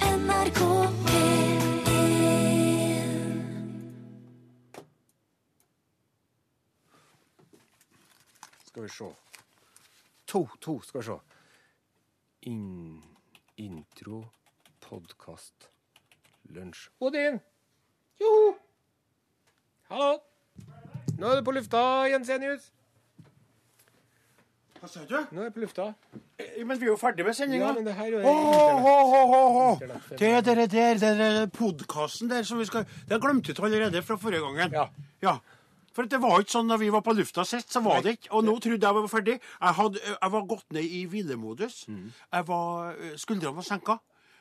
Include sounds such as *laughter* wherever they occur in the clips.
NRK P1 Skal vi se. To, to, skal vi se. In, intro, podkast, lunsj. Odin! Joho! Hallo! Nå er du på lufta, Jensenius. Hva sa du? Nå er jeg på lufta. Men vi er jo ferdig med sendinga. Ja, men det her er jo Åh, åh, åh, åh, åh. Internett. Det er dere der, det er podkasten der som vi skal Det har glemt ut allerede fra forrige gangen. Ja. ja. For det var ikke sånn da vi var på lufta sist, så var det ikke. Og nå trodde jeg vi var ferdig. Jeg, hadde, jeg var gått ned i hvilemodus. Mm. Jeg var, Skuldrene var senka.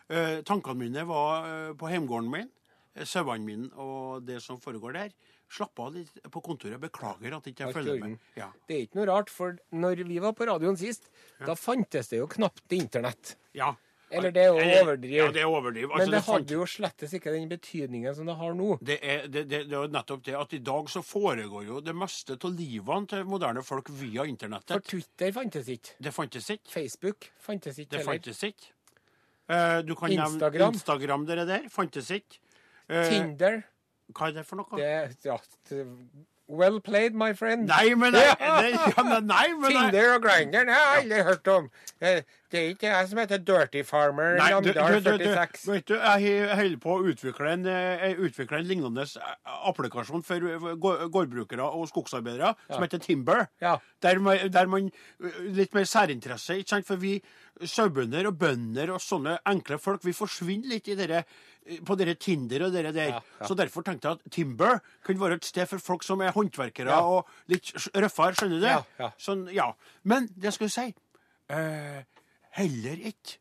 Eh, tankene mine var eh, på heimgården min, eh, sauene mine og det som foregår der. Slapp av litt på kontoret. Beklager at ikke jeg Alt i følger orden. med. Ja. Det er ikke noe rart, for når vi var på radioen sist, da fantes det jo knapt internett. ja. Eller det er jo Eller- overdriv. Ja, det er overdriv. Altså, Men det fant- hadde jo slettes ikke den betydningen som det har nå. Det er, det, det, det er jo nettopp det at i dag så foregår jo det meste av livene til moderne folk via For internettet. Twitter fantes ikke. Det fantes ikke. Facebook fantes ikke Det heller. fantes ikke. Eh, du kan nevne Instagram. Instagram, dere der. Fantes ikke. Eh, Tinder hva er det for noe? det, ja, det, Well played, my friend. Nei, men det, Ja. det, ja, men nei, men nei. Tinder og Grindr det har jeg aldri hørt om. Eh, Det er ikke jeg som heter Dirty Farmer Nei, du, du, Namdal du, du, 46. vet du, jeg he- holder på å utvikle en, eh, jeg utvikler en lignende s- applikasjon for eh, gå- gårdbrukere og skogsarbeidere som heter Timber. Ja. Der, man, der man eh, Litt mer særinteresse, ikke sant? For vi sauebønder og bønder og sånne enkle folk, vi forsvinner litt i dere, eh, på dere Tinder og dere der. Ja, ja. Så derfor tenkte jeg at Timber kunne være et sted for folk som er håndverkere Ja. og litt s- røffere, skjønner du? Ja, ja. Sånn, ja. Men det jeg skulle si eh, Heller ikke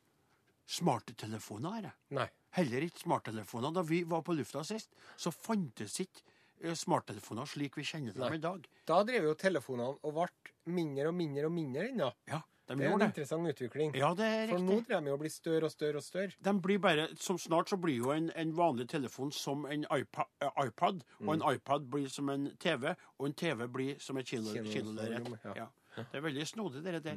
smarte telefoner her. jeg. Nei. Heller ikke smarttelefoner. Da vi var på lufta sist, så fantes ikke eh, smarttelefoner slik vi kjenner dem Nei. i dag. Da drev jo telefonene og ble mindre og mindre og mindre ennå. Ja, Det de er en gjorde det. interessant utvikling. Ja, det er For nå riktig. driver de jo og blir større og større og større. De blir bare, som Snart så blir jo en, en vanlig telefon som en iPad, eh, iPad og Mm. en iPad blir som en TV, og en TV blir som et kilo- Kilo- kilolerret. ja. Mm. Ja. Det er veldig snodig, det der.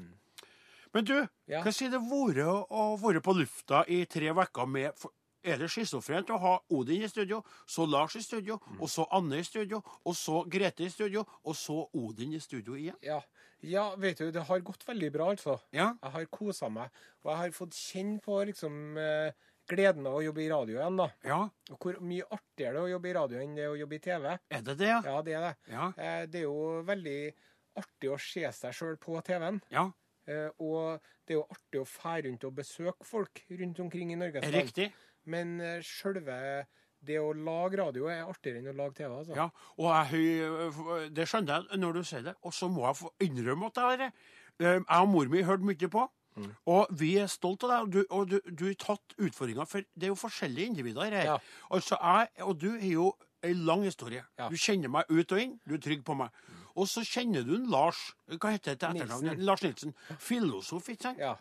Men du, Ja. hva sier det vært å- å være på lufta i tre uker med for- Er det schizofrent å ha Odin i studio, så Lars i studio, og så Anne i studio, og så Grete i studio, og så Odin i studio igjen? Ja. ja, vet du, det har gått veldig bra, altså. Ja. Jeg har kosa meg, og jeg har fått kjenne på liksom eh, gleden av å jobbe i radio igjen, da. ja. Og hvor mye artigere det er å jobbe i radio enn det er å jobbe i TV. Er det det, ja? Ja, det er det. Ja. Eh, Det er jo veldig artig å se seg sjøl på TV-en. ja. Eh, Og det er jo artig å fære rundt og besøke folk rundt omkring i Norges Er land. Riktig. Men eh, sjølve det å lage radio er artigere enn å lage TV. altså. Ja, og jeg, høy- eh, det skjønner jeg når du sier det. Og så må jeg få innrømme at jeg, har- eh, jeg og mor mi hørte mye på. Mm. Og vi er stolt av deg, og du, og du, du har tatt utfordringa, for det er jo forskjellige individer her. Ja. Altså, jeg og du har jo ei lang historie. Ja. Mm. Du kjenner meg ut og inn, du er trygg på meg. Og så kjenner du en Lars Hva heter det til etternavn? Lars Nilsen. Filosof, ikke sant? Ja.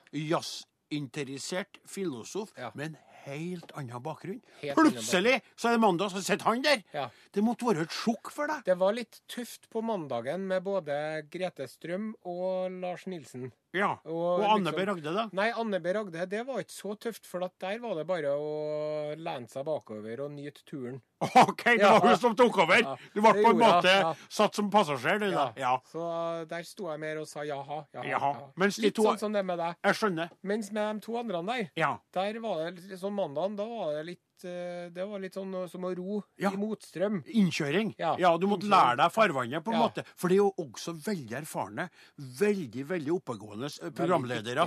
Jazzinteressert filosof Ja. med en helt annen bakgrunn. Helt annen Plutselig så er det mandag, så sitter han der! Ja. Det måtte være et sjokk for deg. Det var litt tøft på mandagen med både Grete Strøm og Lars Nilsen. Ja. Og Og, Anne liksom- B. Ragde, da. Nei, Anne B. Ragde, det var ikke så tøft, for at der var det bare å lene seg bakover og nyte turen. *laughs* OK, det Ja. var hun som tok over. Ja. Du ble Det på en gjorde jeg, måte ja. satt som passasjer, du, da. Ja. Så eh, der sto jeg mer og sa jaha, jaha. Jaha. Mens de Litt to- sånn som det med deg. Jeg skjønner. Mens med de to andre der, Ja. der var det litt sånn mandagen, da var det litt eh, Det var litt sånn eh, som å ro Ja. i motstrøm. Innkjøring. Ja. Ja, du måtte lære deg farvannet, på en Ja. måte. For det er jo også veldig erfarne, veldig veldig oppegående eh, programledere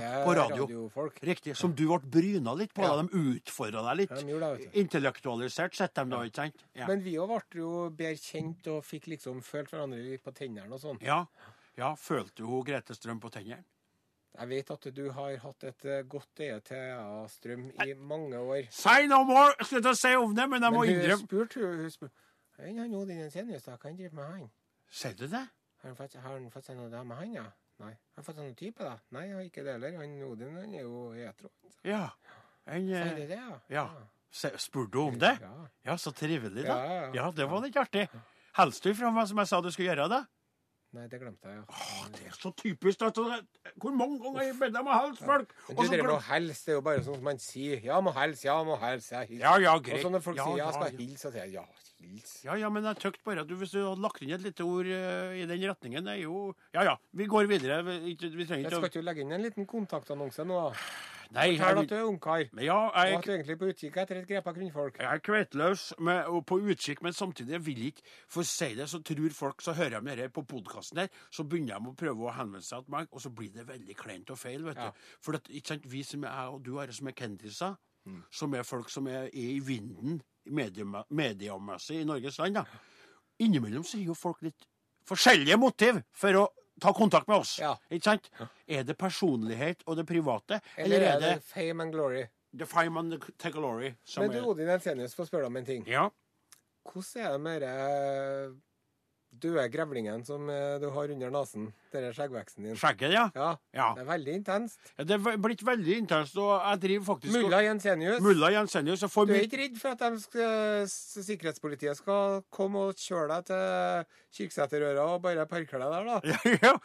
Veldig dyktige på radio. radiofolk. Riktig. Som du ble bryna litt på. Ja. da. De utfordra deg litt. Ja, de gjorde det, vet Intellektualisert setter de da, ikke sant? Ja. Men vi òg ble jo bedre kjent og fikk liksom følt hverandre litt på tennene og sånn. ja. ja. Følte hun Grete Strøm på tennene? Jeg vet at du har hatt et eh, godt øye til ja, Strøm i mange år. Si no more! Jeg Skulle til å si om det, men jeg må Men hun innrømme spurte jo hun spurte, «Hvem er han Odin Jensenius, da? Hva han driver med han? Sier du det? Har han fått, har han fått seg noe dame, han, ja? Nei. Har han fått seg noen type, da? Nei, jeg har ikke det heller. Han Odin han er jo hetero. Ja. En, Sier eh, du det, ja? ja. Se- Spurte du om det? Ja. Ja, så trivelig, Ja, ja, da. ja. Ja, det var litt artig. Hilste du fra meg som jeg sa du skulle gjøre, da? Nei, det glemte jeg, ja. Å, det er så typisk. Altså, hvor mange ganger jeg bedre må helse folk? Men du, og det så med glem- å hilse, det er jo bare sånn som man sier. Ja, må hilse, ja, må hilse. Ja, hils. Ja, ja, og greit. så når folk Ja, sier ja, ja, skal ja. jeg hilse, så sier jeg ja, hils. Ja, ja, men jeg tøkte bare at du, hvis du hadde lagt inn et lite ord eh, i den retningen, det er jo Ja, ja, vi går videre. Vi, ikke- vi trenger Jeg ikke skal å ikke du legge inn en liten kontaktannonse nå, da? Nei, Fortell jeg, at du er ungkar, men ja, og jeg, at du egentlig er på utkikk etter et grepa kvinnfolk. jeg er kvettløs men- og på utkikk, men samtidig jeg vil ikke For si det, så tror folk Så hører de dette på podkasten her, så begynner de å prøve å henvende seg til meg, og så blir det veldig kleint og feil, vet du. Ja. For at, ikke sant, vi som er jeg og du, Are, som er kendiser, som er folk som er, er i vinden mediema- mediamessig i Norges land, da. Innimellom så har jo folk litt forskjellige motiv for å ta kontakt med oss. Ja. Ikke sant? Er det personlighet og det private, eller, Eller er det, fame and glory? The Fireman and the Tegalory som Men du, Odin Ensenius, få spørre deg om en ting. er Ja. Hvordan er det med den døde grevlingen som eh, du har under nesen? Denne skjeggveksten din? Skjegget, ja. Ja. Ja. Det er veldig intenst. Ja, Det er ve- blitt veldig intenst, og jeg driver faktisk og- Mulla Jensenius, Mulla Jensenius. Jeg får du er mye ikke redd for at de skal, s- sikkerhetspolitiet skal komme og kjøre deg til Kirksæterøra og bare parkere deg der, da? *laughs* ja,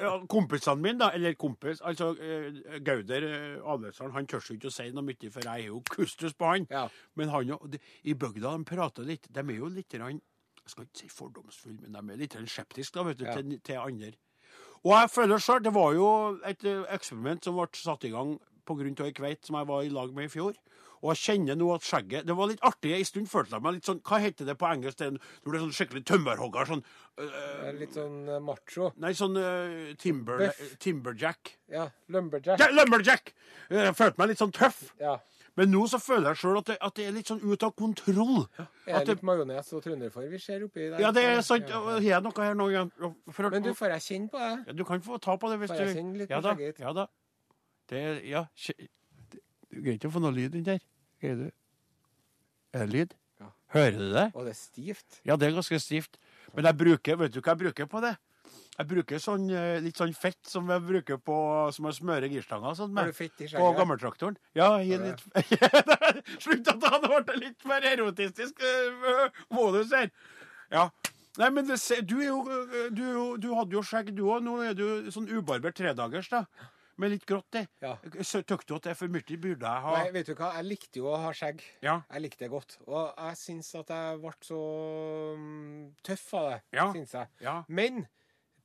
ja. Kompisene mine, da, eller kompis altså eh, Gauder eh, Alvestrand, han tør jo ikke å si noe mye, for jeg er jo kustus på han. Ja. Men han og, de, i bygda de prater litt. De er jo litt grann, Jeg skal ikke si fordomsfulle, men de er litt grann skeptiske da, vet du, Ja. til, til andre. Og jeg føler selv, Det var jo et eh, eksperiment som ble satt i gang pga. ei kveit som jeg var i lag med i fjor. Og jeg kjenner nå at skjegget Det var litt artig. En stund følte jeg meg litt sånn Hva heter det på engelsk? Det er en- Når du er sånn skikkelig tømmerhogger? Sånn eh, Det er Litt sånn eh, macho. Nei, sånn eh, timber, Bøff. Timberjack. Ja. Lumberjack. Ja, Lumberjack! Jeg følte meg litt sånn tøff. Ja. Men nå så føler jeg sjøl at, det- at det er litt sånn ut av kontroll. Er det At det, litt majones og trønderfar vi ser oppi der? ja, det er sant. Ja. Har jeg noe her nå? igjen? For, Men du, får jeg kjenne på det? ja, du kan få ta på det hvis Får du jeg kjenne litt ja, på da, skjegget ditt? ja da. Det er Ja. skje- det- Du greier ikke å få noe lyd inn der. Greier du? Er det lyd? Ja. Hører du det? Å, det er stivt. Ja, det er ganske stivt. Men jeg bruker, vet du hva jeg bruker på det? Jeg bruker sånn, eh, litt sånn fett som jeg bruker på, som jeg smører girstanga sånn Har med. du fett i På skjegget? gammeltraktoren. Ja, gi Har litt *laughs* Slutt at han ble litt mer erotistisk eh, modus her. Ja. Nei, men det, se- du, er jo, eh, du, er jo- du hadde jo skjegg, du òg. Nå er du sånn ubarbert tredagers, da. Med litt grått i. Ja. Så Tøkte du at det er for mye? Burde jeg ha Nei, vet du hva? Jeg likte jo å ha skjegg. Ja. Jeg likte det godt. Og jeg syns at jeg ble så mm, tøff av det. Ja. Synes jeg. ja. Men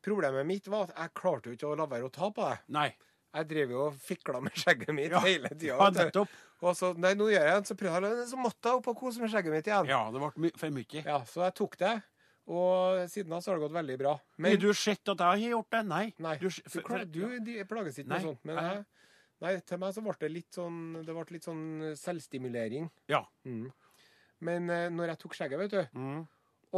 problemet mitt var at jeg klarte jo ikke å la være å ta på det. Nei. Jeg driver jo og fikla med skjegget mitt Ja. hele tida. Ja, nettopp. og så nei, nå gjør jeg det, så prøvde jeg, så måtte jeg opp og kose med skjegget mitt igjen. Ja, det ble my- for mye. Ja, så jeg tok det. Og siden da så har det gått veldig bra. Har du sett at jeg har gjort det? Nei. Nei, Du, du, s- for- klarer, for- du de, plages ikke Nei, med sånt. Men jeg- jeg, nei, til meg så ble det litt sånn Det ble litt sånn selvstimulering. Ja. Mm. Men eh, når jeg tok skjegget, vet du Mm.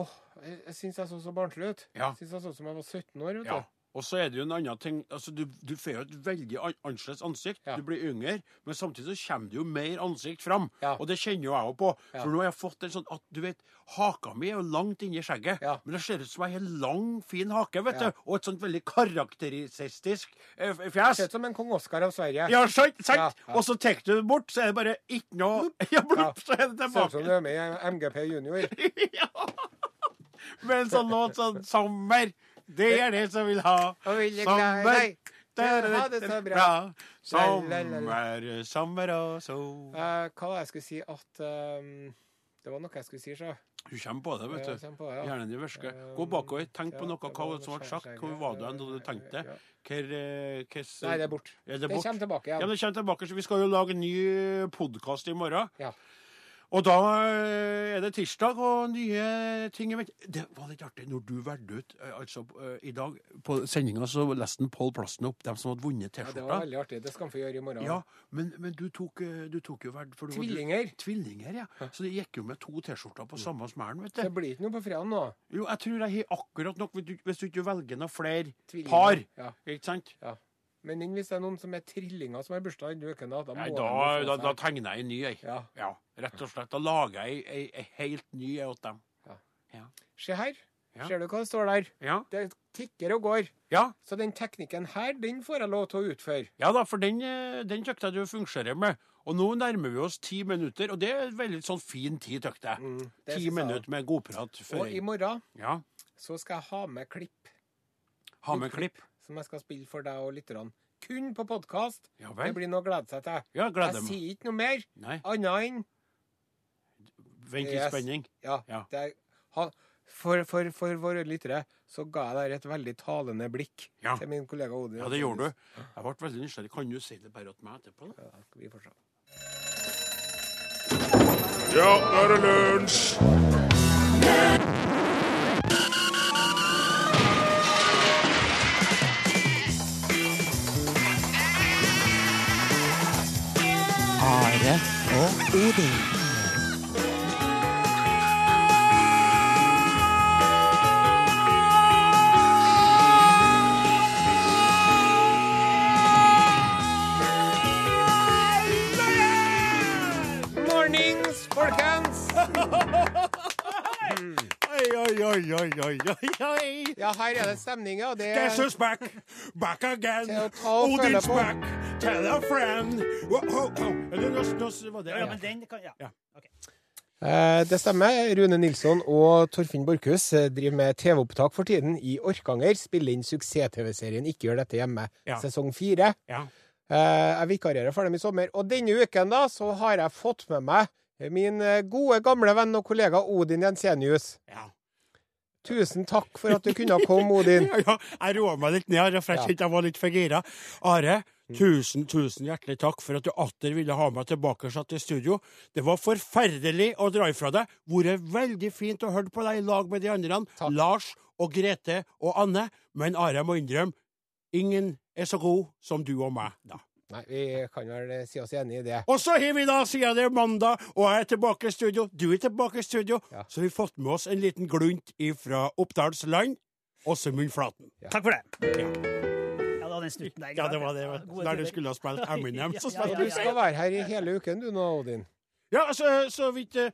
Åh, jeg, jeg syns jeg så så barnslig ut. Ja. Jeg syns jeg så ut som jeg var 17 år. vet Ja. du. Og så er det jo en annen ting. altså Du, du får jo et veldig an- annerledes ansikt. Ja. Du blir yngre, men samtidig så kommer det jo mer ansikt fram. Ja. Og det kjenner jo jeg òg på. Ja. For nå har jeg fått en sånn at du vet, haka mi er jo langt inni skjegget. Ja. Men det ser ut som jeg har en lang, fin hake, vet Ja. du. Og et sånt veldig karakteristisk eh, f- fjes. Ser ut som en kong Oskar av Sverige. Ja, sant? sant? Ja, ja. Og så tar du det bort, så er det bare ikke noe *laughs* Ja, blupp, så er Ser det ut tilbake. som du er med i MGP Junior. *laughs* ja. Med en sånn låt som Sommer. Det er det som vil ha Og vil jeg glad i sommer. deg. Men ha det så bra. La, la, Sommer, sommer og sol Eh, hva var det jeg skulle si at ehm, Det var noe jeg skulle si, så. Du kommer på det, vet Jeg du. kommer på det, ja. Hjernen din virker. Eh, Gå bakover. Tenk på ja, noe. det Hva var som ble skjær- sagt? Hvor skjær- var du hen da du tenkte? Ja. Hvor, eh, hvordan- Nei, det er bort. Er Det det bort? kommer tilbake Ja, igjen. men det kommer tilbake, så Vi skal jo lage en ny podkast i morgen. Ja. Og da eh, er det tirsdag og nye ting. Vet. Det var litt artig når du valgte ut eh, altså, eh, I dag på sendinga så leste en Pål Plasten opp dem som hadde vunnet Ja, det var T-skjorta. veldig artig. Det skal vi få gjøre i morgen. Ja, men, men du, tok, eh, du tok jo verd... for du- Tvillinger. Tvillinger, ja. Mm. Så det gikk jo med to T-skjorter på samme smellen, vet Det du. blir ikke noe på fredag nå. Jo, jeg tror jeg har akkurat nok hvis du- hvis du ikke velger noen flere Tvillinger. par. Ja. Ikke sant? Men den, hvis det er noen som er trillinger som har bursdag denne uken, da, da må Nei, de da, jo få da, seg- da tegner jeg en ny, jeg. ja. sånn Ja, rett og slett. Da lager jeg ei, ei, ei helt ny ei åt dem. Se her. Ja. Ser du hva det står der? Ja. Det tikker og går. ja. Så den teknikken her, den får jeg lov til å utføre. Ja da, for den, eh, den tøkte jeg du fungerer med. Og nå nærmer vi oss ti minutter, og det er veldig sånn fin tid, tøkte jeg. Mm, det Ti synes jeg minutter med godprat. Og i føring. morgen Ja. så skal jeg ha med klipp Ha med klipp. som jeg skal spille for deg og lytterne. Kun på podkast. Ja Det vel. blir noe å glede seg til. Ja, gleder Jeg meg. sier ikke noe mer Nei, annet enn vent i Yes. spenning. Ja. Ja. Det er, ha- for, for, for våre lyttere så ga jeg deg et veldig talende blikk Ja. til min kollega Odin. Ja, det gjorde du. Jeg ble veldig nysgjerrig. Kan du si det bare til meg etterpå? da? Ja, skal vi fortsette. Ja, nå er det lunsj! Mornings, folkens! *laughs* Oi, oi, oi, oi, oi, oi, oi. Ja, her er det stemning, ja. Det Guess who's back? Back again. Til å ta og føle Odin's på. back. Tell a friend. Wow, wow, wow. Eller nå- nå var det Ja, men den kan, ja. Ja. Eh, Det stemmer. Rune Nilsson og Torfinn Borchhus eh, driver med TV-opptak for tiden i Orkanger. Spiller inn suksess-TV-serien 'Ikke gjør dette hjemme', Ja. sesong fire. Ja. Eh, Jeg vikarierer for dem i sommer. Og denne uken da, så har jeg fått med meg min eh, gode, gamle venn og kollega Odin Jensenius. Ja. Tusen takk for at du kunne komme, *laughs* Odin. *laughs* Ja, jeg roa meg litt ned, her, for jeg Ja. kjente jeg var litt for gira. Are, tusen, tusen hjertelig takk for at du atter ville ha meg tilbake satt i studio. Det var forferdelig å dra ifra deg. Vært veldig fint å høre på deg i lag med de andre, Takk. Lars og Grete og Anne. Men Are, jeg må innrømme, ingen er så god som du og meg, da. Nei, vi kan vel eh, si oss enig i det. Og så har vi da, siden det er mandag, og jeg er tilbake i studio, du er tilbake i studio, Ja. så vi har fått med oss en liten glunt ifra Oppdals land, Åsemund Flaten. Takk for det. Ja, det var den snutten der. ikke Ja, sant? det var det. vet du. gode Der du tider. skulle ha spilt *laughs* Eminem, så Ja, ja, Og spilte du du skal være her i hele uken, du nå, Odin. Ja, så, så vidt eh,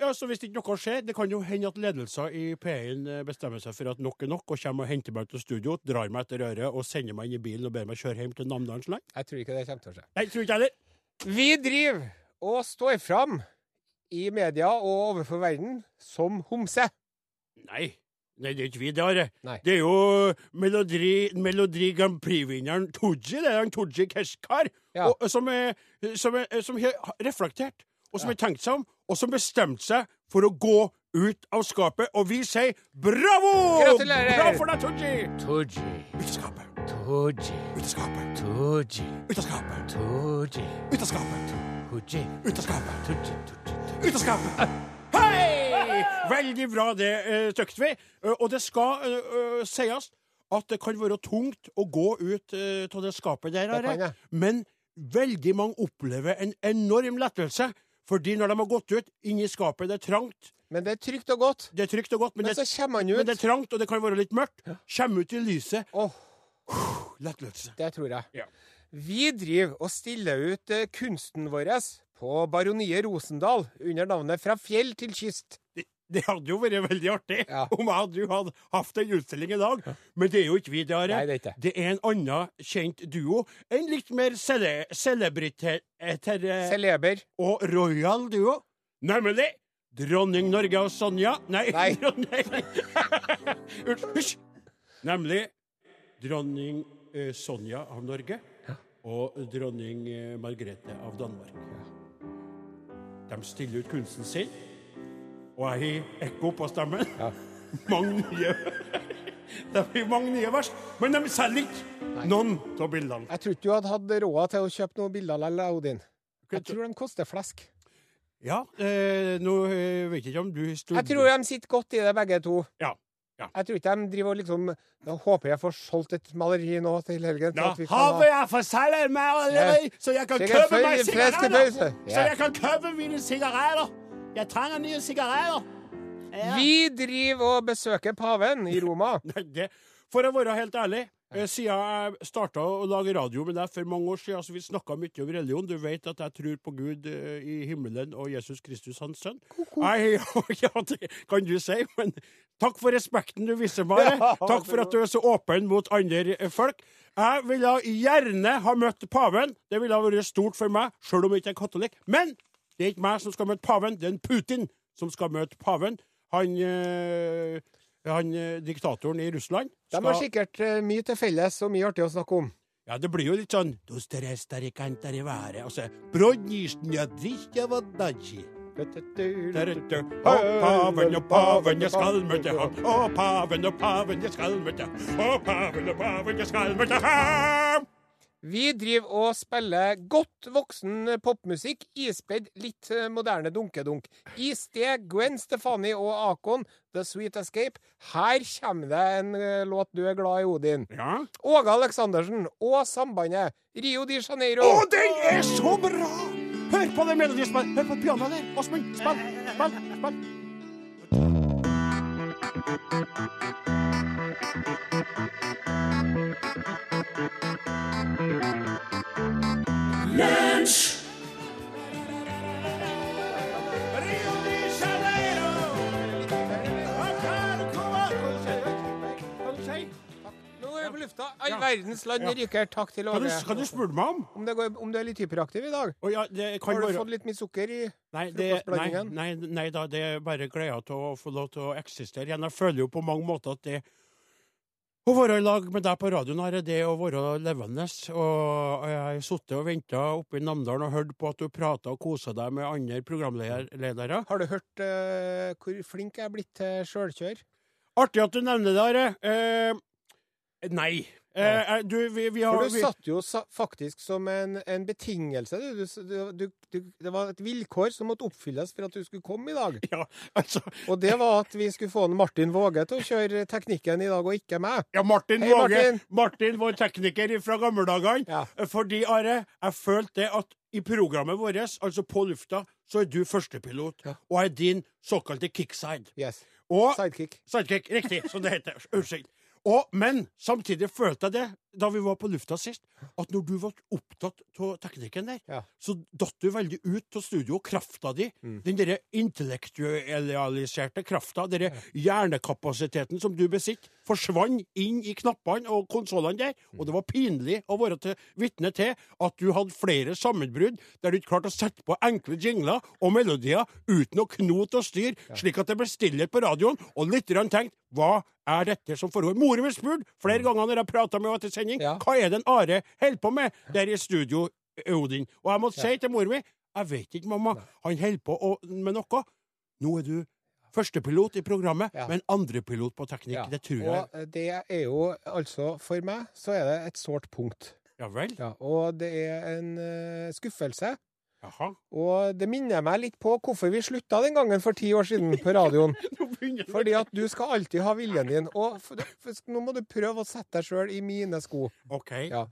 ja, så hvis ikke noe skjer, det kan jo hende at ledelser i P1 eh, bestemmer seg for at nok er nok, og kommer og henter meg til studio, drar meg etter øret og sender meg inn i bilen og ber meg kjøre hjem til Namdalens land. Jeg tror ikke det kommer til å skje. Nei, tror ikke jeg heller. Vi driver og står fram i media og overfor verden som homse. Nei. Nei, det er ikke vi, det har jeg. Nei. Det er jo Melodri, Melodri Grand Prix-vinneren Tooji, det er han Tooji Keshkar, Ja. og, og som, er, som, er, som har reflektert, og som har tenkt seg om, og som bestemte seg for å gå ut av skapet, og vi sier bravo! Gratulerer! Bra for deg, Tooji! Toggi, Ut av skapet, toggi, ut av skapet, toggi, ut av skapet, toggi, ut av skapet, toggi, ut av skapet, toggi, toggi. ut av skapet! Hei! Veldig bra det, eh, tøkt vi. Eh, Og det skal eh, eh, sies at det kan være tungt å gå ut eh, av det skapet der, Det kan Are. det. men veldig mange opplever en enorm lettelse. Fordi når de har gått ut, inni skapet det er trangt, Men det er trygt og godt. det er trygt og godt, men, Men det, så kommer han men det er ut. trangt, og det kan være litt mørkt. Kommer ut i lyset. Åh, Lettelse. det tror jeg. Ja. Vi driver og stiller ut eh, kunsten vår på Baroniet Rosendal under navnet Fra fjell til kyst. Det hadde jo vært veldig artig Ja. *laughs* om jeg hadde jo hadde hatt en utstilling i dag, men det er jo ikke vi, det, Are. Nei, det er ikke det. Det er en annen kjent duo. En litt mer cele celebriteter Celeber. og royal duo, nemlig Dronning Norge og Sonja Nei, Nei. *laughs* dronning Unnskyld. Hysj! Nemlig dronning eh, Sonja av Norge og dronning eh, Margrethe av Danmark. De stiller ut kunsten sin, og jeg har ekko på stemmen. *laughs* mange nye *laughs* Det blir mange nye vers, men de selger ikke noen av bildene. Jeg tror ikke du hadde hatt råd til å kjøpe noen bilder likevel, Odin. Jeg tror de koster flesk. Ja, eh, nå eh, vet jeg ikke om du stod... Jeg tror de sitter godt i det, begge to. Ja, ja. Jeg tror ikke de driver og liksom Da håper jeg får solgt et maleri nå til helgen. Ja, så at vi kan ha- havet er for salg med allerede, så jeg kan Så jeg kan kjøpe følge meg de fleste sigaretter! pølser. Så Ja. jeg kan kjøpe mine sigaretter! Jeg trenger nye *laughs* sigaretter! Vi driver og besøker paven i Roma. Nei, det, for å være helt ærlig, eh, siden jeg starta å lage radio med deg for mange år siden, så vi snakka mye om religion. Du vet at jeg tror på Gud eh, i himmelen og Jesus Kristus, hans sønn. Nei, *laughs* ja, det kan du si, men takk for respekten du viser meg. Ja, takk for at du er så åpen mot andre eh, folk. Jeg ville gjerne ha møtt paven. Det ville ha vært stort for meg, sjøl om jeg ikke er katolikk. Men det er ikke meg som skal møte paven, det er en Putin som skal møte paven. Han eh, han eh, diktatoren i Russland De har sikkert eh, mye til felles og mye artig å snakke om. Ja, det blir jo litt sånn «Dos tres tarikantar i været», og så «Brodnisjnja drikja vadadji». Terete, Å, paven og paven, jeg skal møte ham. Å, paven og paven, jeg skal møte ham. Å, paven og paven, jeg skal møte ham. Vi driver og spiller godt voksen popmusikk, ispledd litt eh, moderne dunkedunk. I sted Gwen Stefani og Akon, The Sweet Escape. Her kommer det en eh, låt du er glad i, Odin. Ja. Åge Aleksandersen og Sambandet, Rio de Janeiro. Å, den er så bra! Hør på den melodien som er Hør på pianoet der. Åsmund, spill, spill, spill. Rio de Janeiro. Nå er vi på lufta. All verdens land ryker. Takk til Hva du, Åge. hva du spurte meg om? Om, det går- om du er litt hyperaktiv i dag? Å ja, det kan Har du være fått litt mye sukker i Nei, det, nei, frokostblandingen? nei, nei da, det er bare gleden til å få lov til å eksistere igjen. Jeg føler jo på mange måter at det å være i lag med deg på radioen her, det er å være levende. Og jeg har sittet og venta oppe i Namdalen og hørt på at du prata og kosa deg med andre programledere. Har du hørt eh, hvor flink jeg er blitt til sjølkjør? Artig at du nevner det, Are. Eh, nei. Eh, eh, du, vi, vi har For du vi, satt jo sa faktisk som en, en betingelse. Du, du, du- du, du, det var et vilkår som måtte oppfylles for at du skulle komme i dag. *laughs* ja, altså, Og det var at vi skulle få en Martin Våge til å kjøre teknikken i dag, og ikke meg. Ja, Martin Hei, Våge. Martin. Martin. vår tekniker fra gamle dager. Ja. Fordi, Are, jeg følte det at i programmet vårt, altså på lufta, så er du førstepilot. Og jeg er din såkalte kickside. Yes. Og Sidekick. Sidekick, riktig, som det heter. Unnskyld. Og, men samtidig følte jeg det, da vi var på lufta sist, at når du var opptatt av teknikken der, Ja. så datt du veldig ut av studio, og krafta di, den derre intellektualiserte krafta, derre hjernekapasiteten som du besitter, forsvant inn i knappene og konsollene der, og det var pinlig å være til, vitne til at du hadde flere sammenbrudd der du ikke klarte å sette på enkle jingler og melodier uten å knote og styre, slik at det ble stillhet på radioen, og lytterne tenkte hva er dette som foregår? Moren min spurte flere ganger når jeg prata med henne etter sending, Ja. hva er det en Are holder på med der i studio, Odin? Og jeg måtte si til moren min jeg vet ikke, mamma, han holder på å, med noe. Nå er du førstepilot i programmet, Ja. men andrepilot på teknikk. Ja. Det tror jeg. Og eh, det er jo altså For meg så er det et sårt punkt. Ja vel? Ja, og det er en eh, skuffelse. Jaha. Og det minner meg litt på hvorfor vi slutta den gangen for ti år siden på radioen. *laughs* Nå begynner det. Fordi at du skal alltid ha viljen din. Og f- f- nå må du prøve å sette deg sjøl i mine sko. OK. Ja.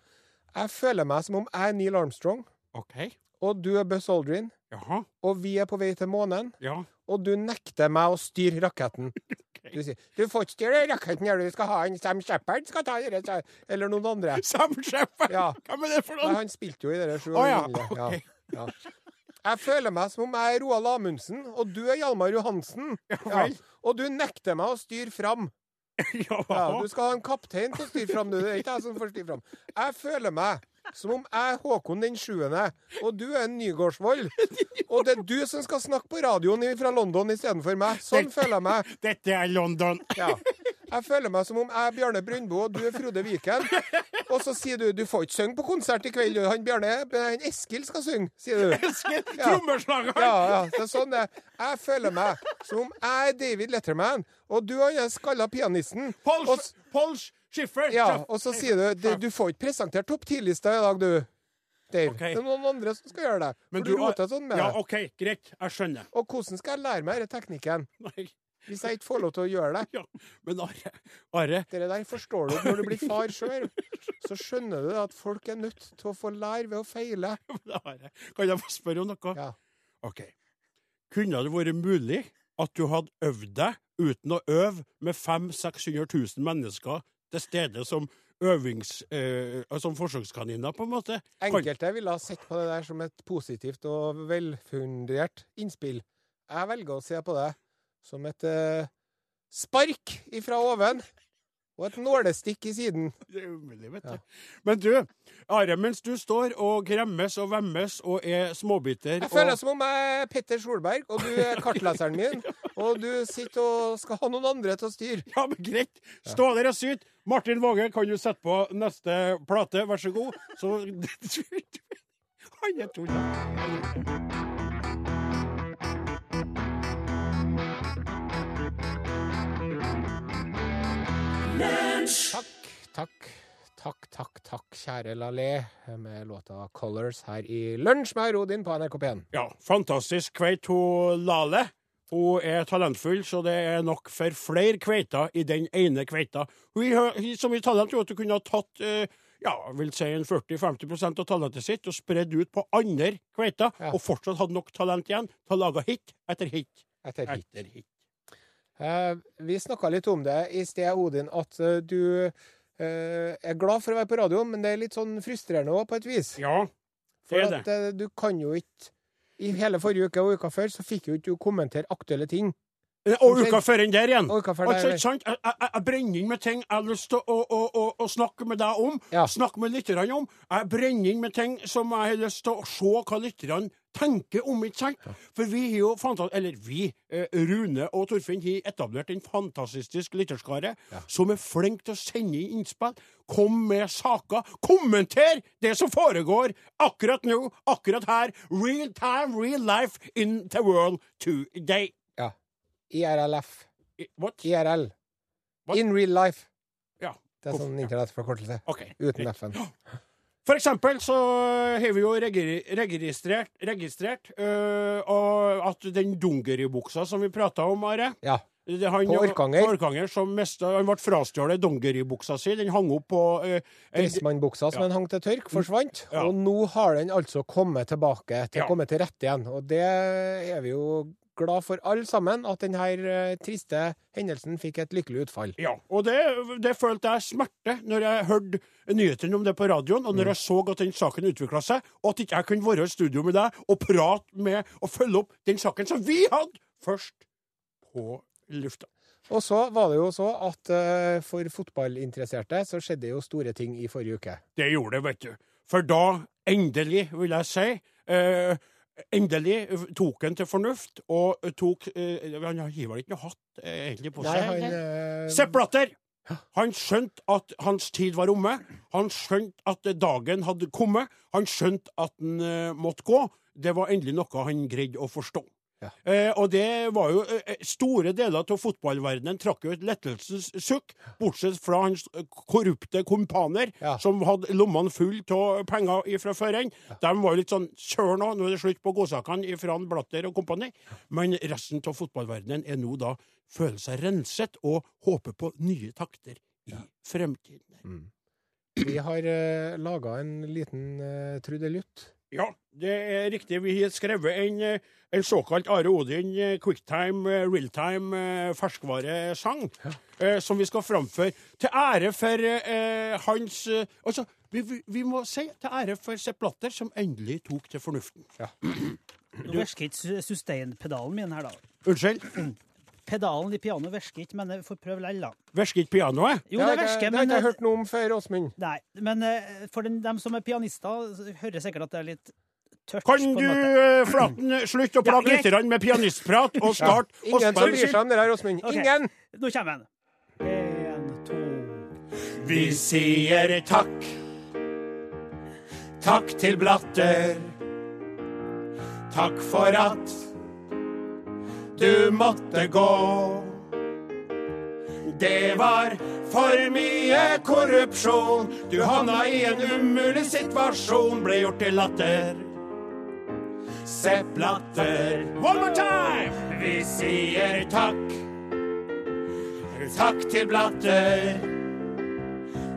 Jeg føler meg som om jeg er Neil Armstrong, OK. og du er Buzz Aldrin, Jaha. og vi er på vei til månen, Ja. og du nekter meg å styre *laughs* raketten. Du sier 'Du får ikke styre raketten, gjør du. Du skal ha en Sam Shepherd skal ta dere, sa- eller noen andre'. Sam Shepard! Ja. Hvem er det for Nei, noen? han spilte jo i det sju Sånn. Å ja, årene. ok. Ja. Jeg føler meg som om jeg er Roald Amundsen, og du er Hjalmar Johansen. vel. Og du nekter meg å styre fram. Ja, Ja. du skal ha en kaptein til å styre fram, du. Det er ikke jeg som får styre fram. Jeg føler meg som om jeg er Håkon den sjuende, og du er en *laughs* Nygårdsvold. Og det er du som skal snakke på radioen i- fra London istedenfor meg. Sånn føler jeg meg. Dette er London. Ja. Jeg føler meg som om jeg er Bjarne Brøndbo, og du er Frode Viken. Og så sier du du får ikke synge på konsert i kveld, du. Han Bjarne han Eskil skal synge, sier du. Esken, Ja. trommeslageren! Ja, ja, det er sånn det er. Jeg føler meg som om jeg er David Letterman, og du er den skalla pianisten. Paul, Og s- Paul Schiffer! ja, og så sier du "Det- Du får ikke presentert topp 10-lista i dag, du. Dave. Ok. Det er noen andre som skal gjøre det. For du, roter sånn med Ja, det. OK, greit. Jeg skjønner. *laughs* Og hvordan skal jeg lære meg denne teknikken Nei. hvis jeg ikke får lov til å gjøre det? Ja. Men Are, Are Det der forstår du når du blir far sjøl. Så skjønner du at folk er nødt til å få lære ved å feile. *laughs* Are, Kan jeg få spørre om noe? Ja. OK. Kunne det vært mulig at du hadde øvd deg uten å øve med 500 000-600 000 mennesker til stede som øvings... Eh, som forsøkskaniner, på en måte? Kan- Enkelte ville ha sett på det der som et positivt og velfundert innspill. Jeg velger å se på det som et eh, spark ifra oven og et nålestikk i siden. Det er umulig, vet du. Men du, Are, mens du står og gremmes og vemmes og er småbiter Jeg føler og... som om jeg er Petter Solberg, og du er kartleseren min, og og du sitter og skal ha noen andre til å styre. Ja, men greit. Stå der og syt. Martin Våge, kan du sette på neste plate? Vær så god. Så *laughs* Han er tull. Takk, takk, takk, takk, takk, kjære Lalé, med låta 'Colors' her i Lunsj med Rodin på NRK P1. Ja, fantastisk kveit hun Lale. Hun er talentfull, så det er nok for flere kveiter i den ene kveita. Hun har hun har så mye talent hun at hun kunne ha tatt eh, ja, vil si en 40-50 av talentet sitt og spredd ut på andre kveiter, Ja. og fortsatt hadde nok talent igjen til å lage hit etter hit Etter hit. etter hit. Eh, vi snakka litt om det i sted, Odin, at eh, du eh, er glad for å være på radio, men det er litt sånn frustrerende òg, på et vis. Ja, For det er at eh, du kan jo ikke I hele forrige uke og uka før så fikk jo ikke du kommentere aktuelle ting. eh, Og uka før enn der igjen. Og uka før der, altså, eller? ikke sant? Jeg, jeg, jeg brenner inn med ting jeg har lyst til å, å, å, å snakke med deg om. Ja. Snakke med lytterne om. Jeg brenner inn med ting som jeg har lyst til å se hva lytterne tenker om. ikke sant? For vi har jo fantastisk Eller vi, eh, Rune og Torfinn, har etablert en fantastisk lytterskare som er flink til å sende inn innspill. Kom med saker. Kommenter det som foregår akkurat nå, akkurat her. Real time, real life in the world today. IRLF. I- What? IRL. What? In real life. Ja. Det er sånn internettforkortelse. Ok. Uten F-en. For eksempel så har vi jo regri- registrert, registrert øh, og at den dongeribuksa som vi prata om, Are Ja. det- På han jo- Orkanger. På Orkanger som mista, han ble frastjålet dongeribuksa si. Den hang opp på øh, en- Dressmannbuksa som Ja. den hang til tørk, forsvant. Ja. Og nå har den altså kommet tilbake, til Ja. kommet til rette igjen. Og det er vi jo glad for alle sammen, at denne triste hendelsen fikk et lykkelig utfall. Ja, og det, det følte jeg smerte når jeg hørte nyhetene om det på radioen, Mm. og når jeg så at den saken utvikla seg, og at ikke jeg kunne være i studio med deg og prate med og følge opp den saken som vi hadde først på lufta. Og så var det jo så at eh, for fotballinteresserte så skjedde jo store ting i forrige uke. Det gjorde det, vet du. For da, endelig, vil jeg si eh, Endelig tok han til fornuft, og tok eh, Han har vel ikke noe hatt eh, egentlig på Nei, seg? han eh, Sepp Blatter! Han skjønte at hans tid var omme. Han skjønte at dagen hadde kommet. Han skjønte at han eh, måtte gå. Det var endelig noe han greide å forstå. Ja. Eh, og det var jo eh, Store deler av fotballverdenen trakk jo et lettelsens sukk, bortsett fra hans eh, korrupte kompaner, Ja. som hadde lommene fulle av penger fra før. Ja. De var jo litt sånn Sør nå, nå er det slutt på godsakene fra Blatter og kompani. Men resten av fotballverdenen er nå da føler seg renset og håper på nye takter i fremtiden. Vi har uh, laga en liten eh, trudelutt. Ja, det er riktig. Vi har skrevet en, eh, en såkalt Are Odin eh, quicktime, eh, realtime eh, ferskvaresang, eh, som vi skal framføre til ære for eh, hans eh, Altså, vi, vi, vi må si til ære for Sepp Blatter, som endelig tok til fornuften. Nå virker ikke su- sustain-pedalen min her, da. Unnskyld, Pedalen i pianoet virker ikke, men jeg får prøve lell, da. virker ikke pianoet? Jo, det har ikke- virker, det har men eh, ikke jeg hørt noe om før, Åsmund. Nei, men eh, for den, dem som er pianister, så hører sikkert at det er litt tørt. på Kan en du, måte. eh, Flaten, slutte å plage greit. lytterne med pianistprat, og start og Ingen som spill- bryr seg om det her, Åsmund. Ok. Ingen! Nå kommer den. En, to Vi sier takk. Takk til Blatter. Takk for at du måtte gå. Det var for mye korrupsjon. Du havna i en umulig situasjon, ble gjort til latter. Sepp Blatter. One more time! Vi sier takk. Takk til Blatter.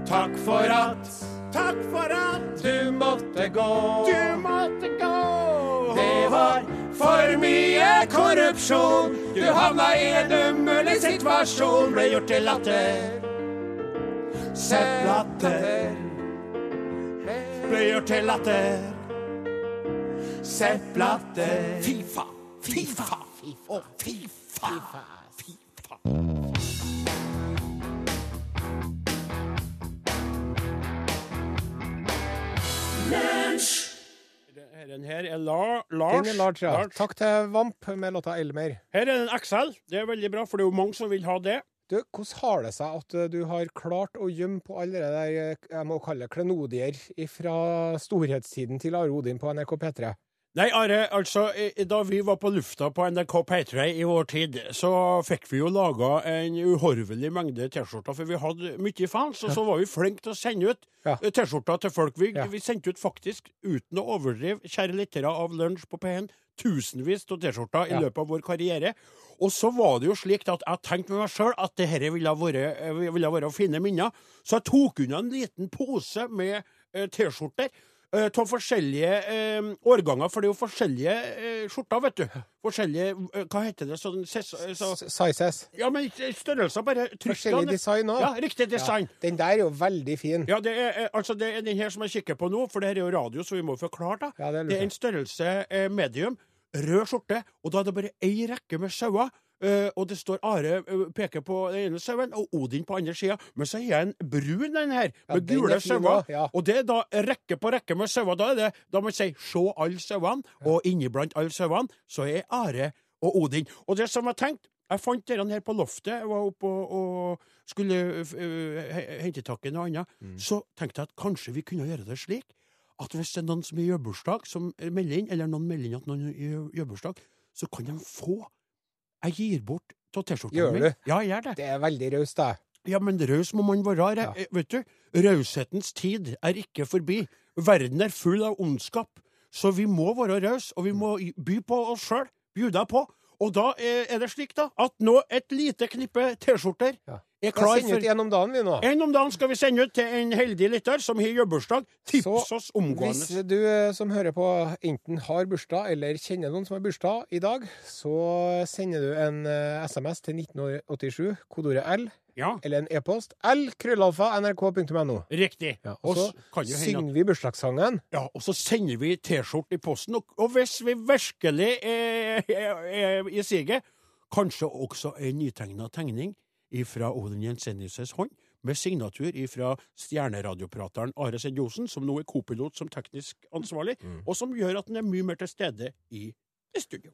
Takk for at Takk for at du måtte gå. Du måtte gå. Det var for mye korrupsjon. Du havna i en umulig situasjon, ble gjort til latter. Sepp Blatter ble gjort til latter. Sepp Latter. Fifa, Fifa, og Fifa. Fifa. Denne her er La Lars. Den er large, ja. Lars. Takk til Vamp med låta 'Elmer'. Her er en XL. Det er veldig bra, for det er jo mange som vil ha det. Du, hvordan har det seg at eh, du har klart å gjemme på alle de der eh, jeg må kalle det klenodier fra storhetstiden til Are Odin på NRK P3? Nei, Are, altså, eh, da vi var på lufta på NRK P3 i vår tid, så fikk vi jo laga en uhorvelig mengde T-skjorter, for vi hadde mye fans, og så var vi flinke til å sende ut Ja. eh, T-skjorter til folk. Vi, Ja. vi sendte ut faktisk, uten å overdrive, kjære lyttere av Lunsj på P1, tusenvis av T-skjorter i Ja. løpet av vår karriere. Og så var det jo slik at jeg tenkte med meg sjøl at det dette ville vært, eh, ville vært fine minner, så jeg tok unna en liten pose med eh, T-skjorter. eh, Av forskjellige eh, årganger, for det er jo forskjellige eh, skjorter, vet du. Forskjellige eh, Hva heter det? Sånn, ses, så, S- Sizes. ja, men ikke- størrelser, bare trykk Forskjellig design òg. Ja, riktig design. Den der er jo veldig fin. Ja, det er, eh, altså det er den her som jeg kikker på nå, for det her er jo radio, så vi må forklare det. Ja, det er lurt. det er en størrelse eh, medium, rød skjorte, og da er det bare ei rekke med sauer. eh, og det står Are eh, peker på den ene sauen, og Odin på andre sida. Men så er jeg en brun, den her, med den er gule fin sauer. også, ja. Og det er da rekke på rekke med sauer. Da er det, da må jeg si 'se alle sauene', og inniblant alle sauene så er Are og Odin. Og det som jeg tenkte jeg fant denne her på loftet, jeg var oppe og, og skulle øh, øh, he- hente tak i noe annet. Mm. Så tenkte jeg at kanskje vi kunne gjøre det slik at hvis det er noen som gjør bursdag, som melder inn, eller noen melder inn at noen gjør gjør bursdag, så kan de få Jeg gir bort av T-skjorta Gjør mi. du? Ja, jeg gjør det. Det er veldig raust, da. Ja, men raus må man være. Are. Eh, Vet du, raushetens tid er ikke forbi. Verden er full av ondskap. Så vi må være rause, og vi Mm. må i- by på oss sjøl. Bjuda på. Og da eh, er det slik, da, at nå et lite knippe T-skjorter Ja. Vi er klar sender ut for en om dagen, vi nå. En om dagen skal vi sende ut til en heldig lytter som har jubileumsdag. Tips Så oss omgående. Hvis du eh, som hører på enten har bursdag eller kjenner noen som har bursdag i dag, så sender du en eh, SMS til 1987, kodeordet L, Ja, eller en e-post L, krøllalfa, nrk.no. riktig. Ja, og og så s- kan jo hende at synger vi bursdagssangen. Ja, og så sender vi T-skjorte i posten. Og, og hvis vi virkelig er, er, er i siget, kanskje også en nytegna tegning fra Odin Jensenius' hånd, med signatur fra stjerneradioprateren Are Send Josen, som nå er co-pilot som teknisk ansvarlig, og som gjør at den er mye mer til stede i i studio.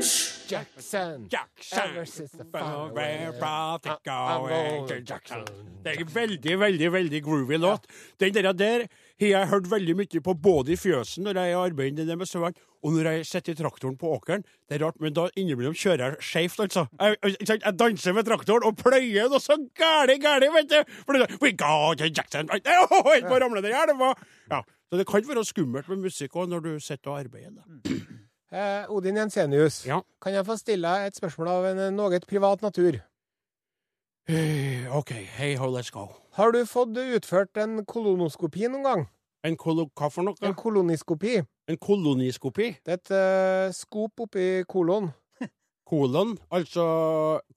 Jackson. Ever since the fire went out, I'm rolling. Det er en veldig, veldig veldig groovy låt. Den der, der har jeg hørt veldig mye på, både i fjøsen når jeg arbeider nede med sauene, og når jeg sitter i traktoren på åkeren. Det er rart, men da innimellom kjører jeg skeivt, altså. Jeg, jeg, ikke sant, jeg danser med traktoren og pløyer noe så gæli, gæli, vet du! For det er sånn, We go to Jackson *laughs* right now! Helt på å ramle ned her, det var Ja. Så det kan være skummelt med musikk òg når du sitter og arbeider. da. Eh, Odin Jensenius, Ja. kan jeg få stille deg et spørsmål av en eh, noe privat natur? Eh, OK, hei ho, let's go. Har du fått utført en kolonoskopi noen gang? En kolo... Hva for noe? En koloniskopi? En koloniskopi? Det er et eh, skop oppi kolon. Kolon, altså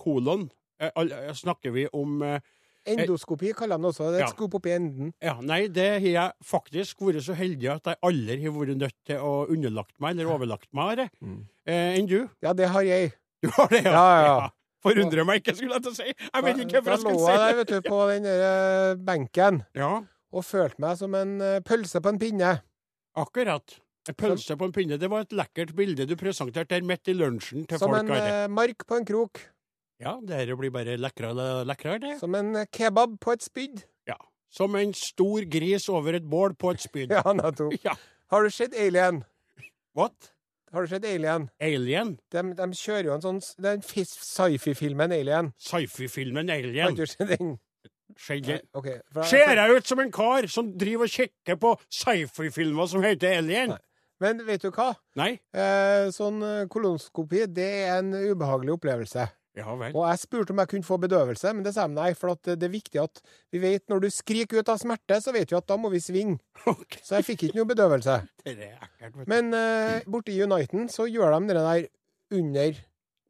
kolon eh, al- eh, Snakker vi om eh, Endoskopi kaller de det også. Det er Ja. et skop oppi enden. Ja, nei, det har jeg faktisk vært så heldig at jeg aldri har vært nødt til å underlagt meg eller overlagt meg det, eh, enn du. Ja, det har jeg. Du har det, Mm. Ja, ja, ja. Forundrer meg ikke, skulle jeg til å si. Jeg vet ikke hva Da lå jeg skulle jeg si. der vet *laughs* du, på den der eh, benken Ja, og følte meg som en eh, pølse på en pinne. akkurat. En pølse på en pinne, det var et lekkert bilde du presenterte der midt i lunsjen til Som folk. en Are. eh, mark på en krok. Ja, det her blir bare lekrere og lekrere, det. Som en eh, kebab på et spyd. *laughs* Ja. Som en stor gris over et bål på et spyd. Ja, nettopp. *laughs* Ja. Har du sett Alien? What? Har du sett Alien? Alien? De, de kjører jo en sånn s- Den fis- sci-fi-filmen Alien. Sci-fi-filmen Har Alien? du sett den? Skjegget. Ok, for- Ser jeg ut som en kar som driver og kikker på sci-fi-filmer som heter Alien? Men vet du hva? Nei? Eh, sånn eh, kolonskopi, det er en ubehagelig opplevelse. Ja vel. Og jeg spurte om jeg kunne få bedøvelse, men det sa de nei, for at det er viktig at vi vet når du skriker ut av smerte, så vet vi at da må vi svinge. *laughs* Ok, Så jeg fikk ikke noe bedøvelse. det er ekkelt. vet du. Men eh, borte i Uniten så gjør de det der under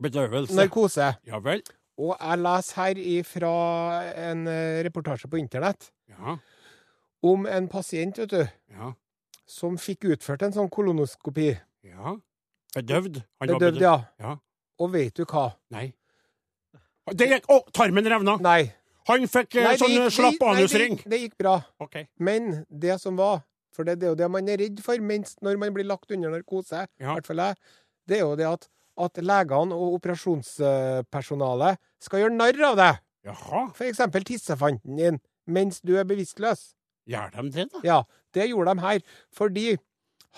Bedøvelse. narkose. Ja vel. Og jeg leser her ifra en eh, reportasje på internett Ja. om en pasient, vet du, Ja. som fikk utført en sånn kolonoskopi. ja. Bedøvd. Han var Bedøvd, ja. Ja. Og vet du hva? Nei. Det gikk, å, tarmen revna. Nei. Han fikk eh, Nei, sånn eh, slapp nei, det anusring. gikk- det gikk bra. Ok. Men det som var For det, det er jo det man er redd for mens når man blir lagt under narkose, i Ja. hvert fall jeg, det er jo det at, at legene og operasjonspersonalet skal gjøre narr av deg. Jaha, For eksempel tissefanten din mens du er bevisstløs. gjør de det, da? Ja, det gjorde de her. Fordi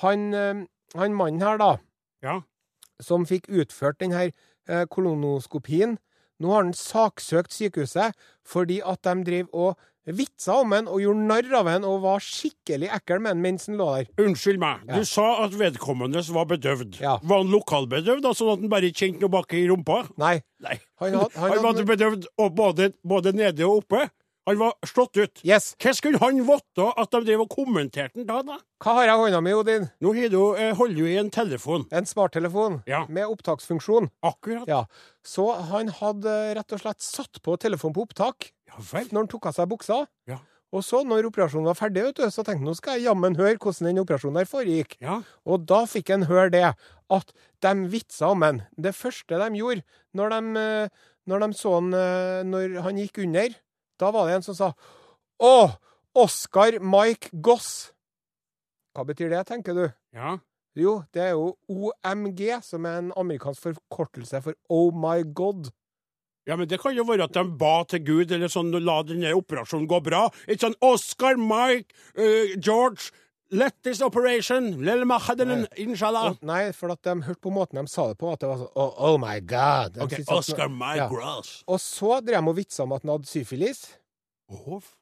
han, eh, han mannen her, da, Ja. som fikk utført denne eh, kolonoskopien. Nå har han saksøkt sykehuset fordi at de drev og vitsa om han og gjorde narr av han og var skikkelig ekkel med han mens han lå der. Unnskyld meg, Ja. du sa at vedkommende var bedøvd. Ja. Var han lokalbedøvd, da, sånn at han bare kjente noe bak i rumpa? Nei. Nei. Han had- han han hadde- var bedøvd og både, både nede og oppe. Han var slått ut. Yes. Hva skulle han vite at de drev og kommenterte den da? da? Hva har jeg i hånda mi, Odin? Nå har du, eh, holder du i en telefon. En smarttelefon Ja. med opptaksfunksjon. Akkurat. Ja. Så han hadde eh, rett og slett satt på telefonen på opptak Ja vel. når han tok av seg buksa. Ja. Og så, når operasjonen var ferdig, vet du, så tenkte han nå skal jeg jammen høre hvordan den operasjonen der foregikk. Ja. Og da fikk en høre det, at de vitsa om en. Det første de gjorde når de, eh, når de så han eh, når han gikk under, da var det en som sa Å, Oscar Mike Goss. Hva betyr det, tenker du? ja. Jo, det er jo OMG, som er en amerikansk forkortelse for Oh My God. Ja, men Det kan jo være at de ba til Gud, eller sånn, la denne operasjonen gå bra. Ikke sånn Oscar, Mike, eh, George, let this operation, lil mahadelen, inshallah. Og, nei, for at de hørte på måten de sa det på, at det var sånn Oh, oh my God. De Ok, syntes at- Oscar, Mike, Ja. Gross. Og så drev de og vitsa om at han hadde syfilis.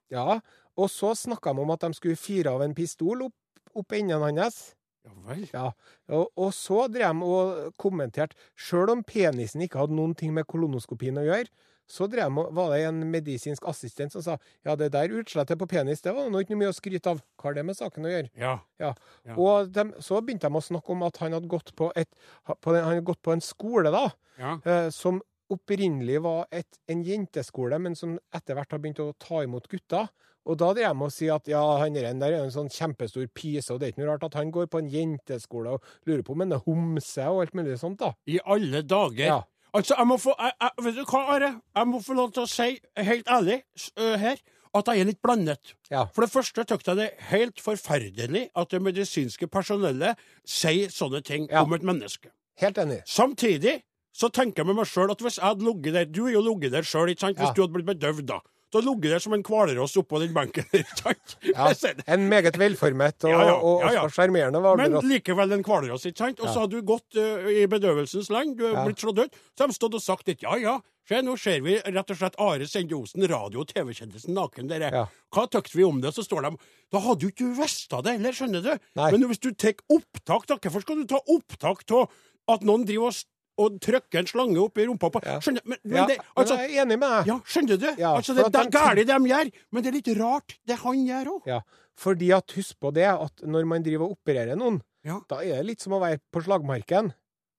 Ja, og så snakka de om at de skulle fyre av en pistol opp, opp enden hans. ja vel. Ja, og, og så drev de og kommenterte Sjøl om penisen ikke hadde noen ting med kolonoskopien å gjøre, så drev de, og- var det en medisinsk assistent som sa ja, det der utslettet på penis, det var nå ikke noe mye å skryte av. Hva har det med saken å gjøre? Ja. Ja. Ja. Og dem- så begynte de å snakke om at han hadde gått på, et, på, den, han hadde gått på en skole, da, Ja. eh, som opprinnelig var et, en jenteskole, men som etter hvert har begynt å ta imot gutter. Og da drev de med å si at ja, han der der er jo en sånn kjempestor pyse, og det er ikke noe rart at han går på en jenteskole og lurer på om han er homse og alt mulig sånt, da. I alle dager. Ja. Altså, jeg må få jeg, jeg, Vet du hva, Are? Jeg må få lov til å si, helt ærlig s- ø, her, at jeg er litt blandet. Ja. For det første syns jeg det er helt forferdelig at det medisinske personellet sier sånne ting Ja. om et menneske. Helt enig. Samtidig så tenker jeg med meg sjøl at hvis jeg hadde ligget der Du er jo ligget der sjøl, ikke sant? Hvis Ja. du hadde blitt bedøvd, da. Da ligget der som en hvalross oppå den benken, *laughs* ikke sant? Ja. *laughs* Jeg ser det. En meget velformet og, Ja, ja, og- ja, ja. og sjarmerende var det. Men da. likevel en hvalross, ikke sant? Og så har du gått ø, i bedøvelsens land, du er blitt slått ut. Så har de stått og sagt litt ja, ja. Se, nå ser vi rett og slett Are Sende Osen, radio- og TV-kjendisen naken, dere. Ja. Hva tøkte vi om det? Så står de Da hadde jo ikke du visst av det heller, skjønner du. Nei. Men hvis du tar opptak, da, hvorfor skal du ta opptak av at noen driver og, s- og trykker en slange opp i rumpa på Skjønner Men, men Ja, det men altså, jeg er enig med deg. Ja, skjønner du? Ja, for altså, det, at det er de- galt de gjør, men det er litt rart, det han gjør òg. Ja, fordi at husk på det, at når man driver og opererer noen, Ja. da er det litt som å være på slagmarken.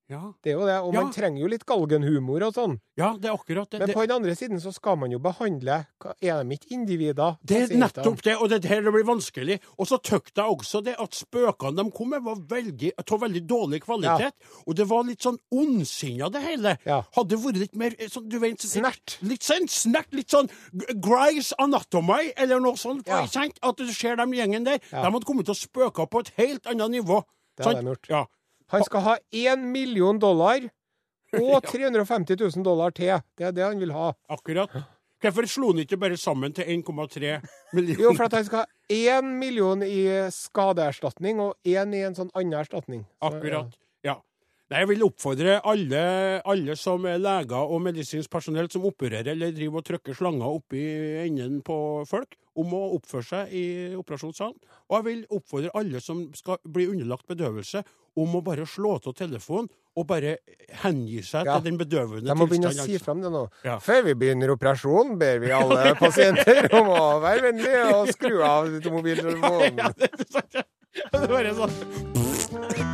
Ja. Det er jo det, og Ja. man trenger jo litt galgenhumor og sånn. ja, det er akkurat det. Men det på den andre siden så skal man jo behandle hva- Er de ikke individer? Det er pasienter? nettopp det, og det er her det blir vanskelig. Og så tøkte jeg også det at spøkene de kom med, var veldig, av veldig dårlig kvalitet. Og det var litt sånn ondsinna, det hele. Ja. Hadde det vært litt mer eh, sånn, du vet, Snert. Litt sånn snert, litt sånn G- Grice Anatomy, eller noe sånt. Ja. ikke sant? At du ser dem gjengen der. Ja. De hadde kommet til å spøke på et helt annet nivå. Det hadde sant? de gjort. Ja. Han skal ha én million dollar *laughs* og 350 000 dollar til. Det er det han vil ha. Akkurat. Hvorfor slo han ikke bare sammen til *laughs* 1,3 millioner? Jo, for at han skal ha én million i skadeerstatning og én i en sånn annen erstatning. Så, Akkurat. Ja. Nei, Jeg vil oppfordre alle, alle som er leger og medisinsk personell som opererer eller driver og trykker slanger oppi enden på folk, om å oppføre seg i operasjonssalen. Og jeg vil oppfordre alle som skal bli underlagt bedøvelse, om å bare slå av telefonen og bare hengi seg Ja. til den bedøvende De må begynne å tilstanden, si altså. frem det nå. Ja. Før vi begynner operasjonen, ber *laughs* vi alle pasienter om å være vennlige og skru *laughs* av mobiltelefonen. Det er bare sånn.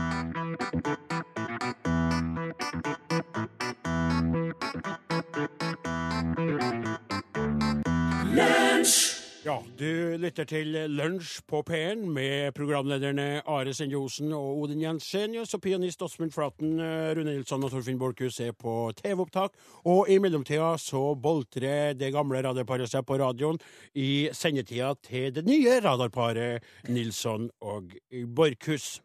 Ja, du lytter til Lunsj på P1 med programlederne Are Sende Osen og Odin Jensenius og pianist Åsmund Flaten, eh, Rune Nilsson og Torfinn Borchhus er på TV-opptak. Og i mellomtida så boltrer det gamle radarparet seg på radioen i sendetida til det nye radarparet Nilsson og Borchhus.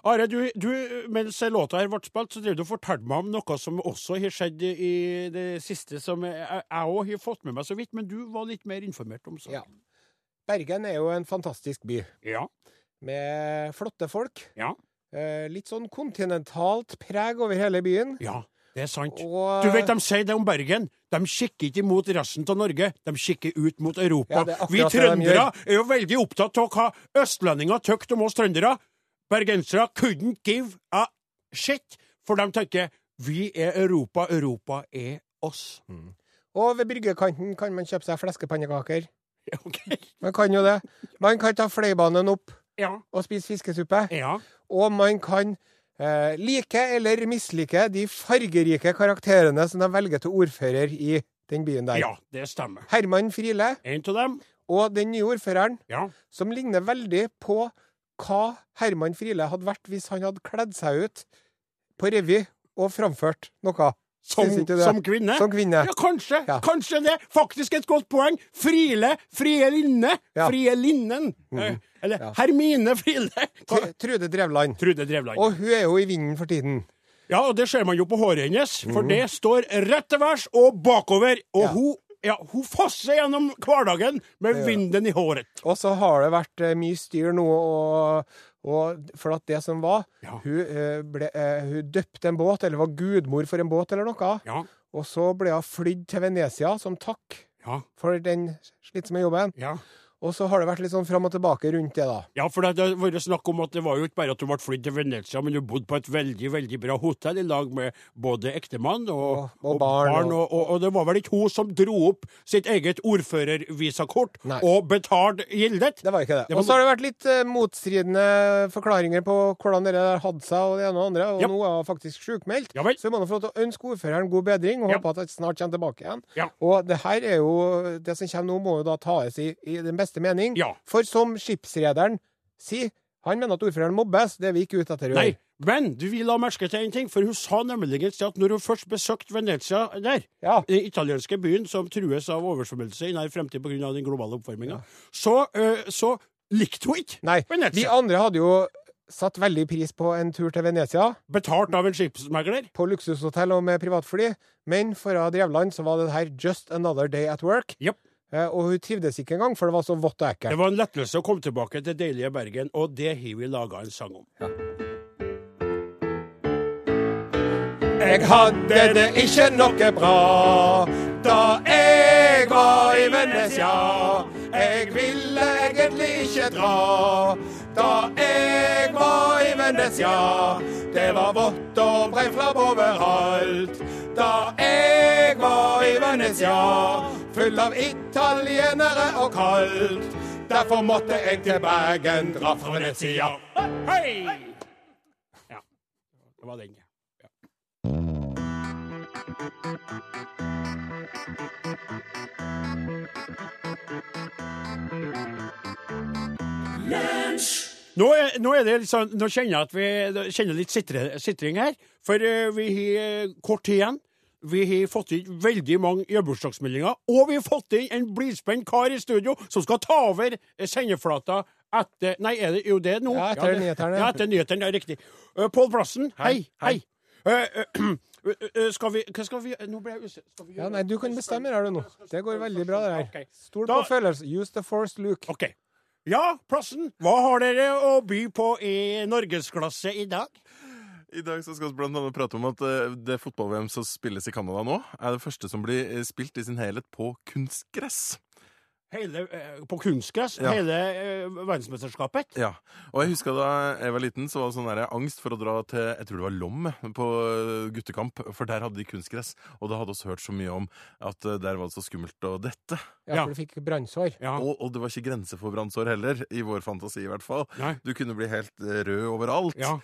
Are, du, du, mens låta her ble spilt, så drev du og fortalte meg om noe som også har skjedd i det siste, som jeg òg har fått med meg så vidt, men du var litt mer informert om saken. Ja. Bergen er jo en fantastisk by Ja. med flotte folk. Ja. Eh, litt sånn kontinentalt preg over hele byen. Ja, det er sant. Og Du vet, De sier det om Bergen. De kikker ikke mot resten av Norge, de kikker ut mot Europa. Ja, det er akkurat vi det de trøndere gjør. er jo veldig opptatt av hva østlendinger tykker om oss trøndere. Bergensere couldn't give a shit, for de tenker vi er Europa, Europa er oss. *laughs* Og ved bryggekanten kan man kjøpe seg fleskepannekaker. Ok? Man kan jo det. Man kan ta Fløibanen opp Ja. og spise fiskesuppe. ja. Og man kan eh, like eller mislike de fargerike karakterene som de velger til ordfører i den byen der. Ja, det stemmer. Herman Friele En av dem. og den nye ordføreren, Ja. som ligner veldig på hva Herman Friele hadde vært hvis han hadde kledd seg ut på revy og framført noe. Som, Synes ikke du det? som kvinne. Som kvinne. Ja, kanskje. Ja. Kanskje det. Faktisk et godt poeng. Friele. Frie linne. Ja. Mhm. Frie linnen. Eh, Eller Ja. Hermine *laughs* Friele. Hva- Tr- Trude Drevland. Trude Drevland. Og hun er jo i vinden for tiden. Ja, og det ser man jo på håret hennes, for det står rett til værs og bakover. Og Mhm. Ja. hun, ja, hun fosser gjennom hverdagen med vinden i håret. Og så har det vært eh, mye styr nå, og, og for at det som var Ja. hun, eh, ble, eh, hun døpte en båt, eller var gudmor for en båt eller noe. Ja. Og så ble hun flydd til Venezia som takk Ja. for den slitsomme jobben. Ja. Og så har det vært litt sånn fram og tilbake rundt det, da. Ja, for det det har vært snakk om at det var jo ikke bare at du ble flydd til Venezia, men du bodde på et veldig veldig bra hotell i lag med både ektemann og, Og- og barn, og, og, og det var vel ikke hun som dro opp sitt eget ordførervisakort Nei. og betalte gildet? Det var ikke det. Det var- Og så har det vært litt eh, motstridende forklaringer på hvordan det der hadde seg, og det ene og det andre, og Ja. nå er hun faktisk sjukmeldt. Ja vel. Så vi må nå få lov til å ønske ordføreren god bedring, og Ja. håpe at han snart kommer tilbake igjen. Ja. Og det her er jo Det som kommer nå, må jo da tas i, i den beste mening. Ja. For som skipsrederen sier, han mener at ordføreren mobbes, det er vi ikke ute etter å Nei, gjøre. men du vil la merke til en ting, for hun sa nemlig et sted at når hun først besøkte Venezia der, Ja. den italienske byen som trues av oversvømmelse i nær fremtid pga. den globale oppvarminga, så, øh, så likte hun ikke Nei. Venezia. Vi andre hadde jo satt veldig pris på en tur til Venezia, Betalt av en skipsmegler. på luksushotell og med privatfly, men for av Drevland så var det her just another day at work. Japp. Eh, Og hun trivdes ikke engang, for det var så vått og Det ekkelt. var en lettelse å komme tilbake til deilige Bergen, og det har vi laga en sang om. Jeg hadde det ikke noe bra da jeg var i Venezia. Jeg ville egentlig ikke dra da jeg var i Venezia. Det var vått og breiflabb overalt da jeg var i Venezia. Full av italienere og kaldt. Derfor måtte jeg til Bergen dra fra Venezia. Hei! Ja, det var den. ja. Nå er, nå er det litt sånn, nå kjenner jeg at vi nå kjenner litt sitre, sitring her, for eh, vi har eh, kort tid igjen. Vi har fått inn veldig mange jubileumsmeldinger, og vi har fått inn en blidspent kar i studio som skal ta over eh, sendeflata etter Nei, er det, jo, det er nå. Ja, etter det- nyheterne. Ja, etter nyheterne, ja, riktig. Uh, Pål Plassen, hei, hei. Eh, eh, eh, *clears throat* eh, skal vi Hva skal vi Nå ble jeg usikker. Skal vi Ja, gjøre- nei, du kan bestemme her du nå. Det går veldig bra, det her. Ok. Stol på Da- følelser. Use the force, Luke. OK. Ja, Plassen, hva har dere å by på i norgesklasse i dag? I dag så skal vi blant annet prate om at eh, det fotball-VM som spilles i Canada nå, er det første som blir eh, spilt i sin helhet på kunstgress. Hele, eh, på kunstgress, Ja. hele eh, verdensmesterskapet. Ja, og jeg husker da jeg var liten, så var det sånn der angst for å dra til Jeg tror det var Lom på eh, guttekamp, for der hadde de kunstgress. Og da hadde vi hørt så mye om at eh, der var det så skummelt å dette. Ja, Ja. for du fikk brannsår. Ja. Og, og det var ikke grenser for brannsår heller, i vår fantasi i hvert fall. Nei. Du kunne bli helt eh, rød overalt. Ja.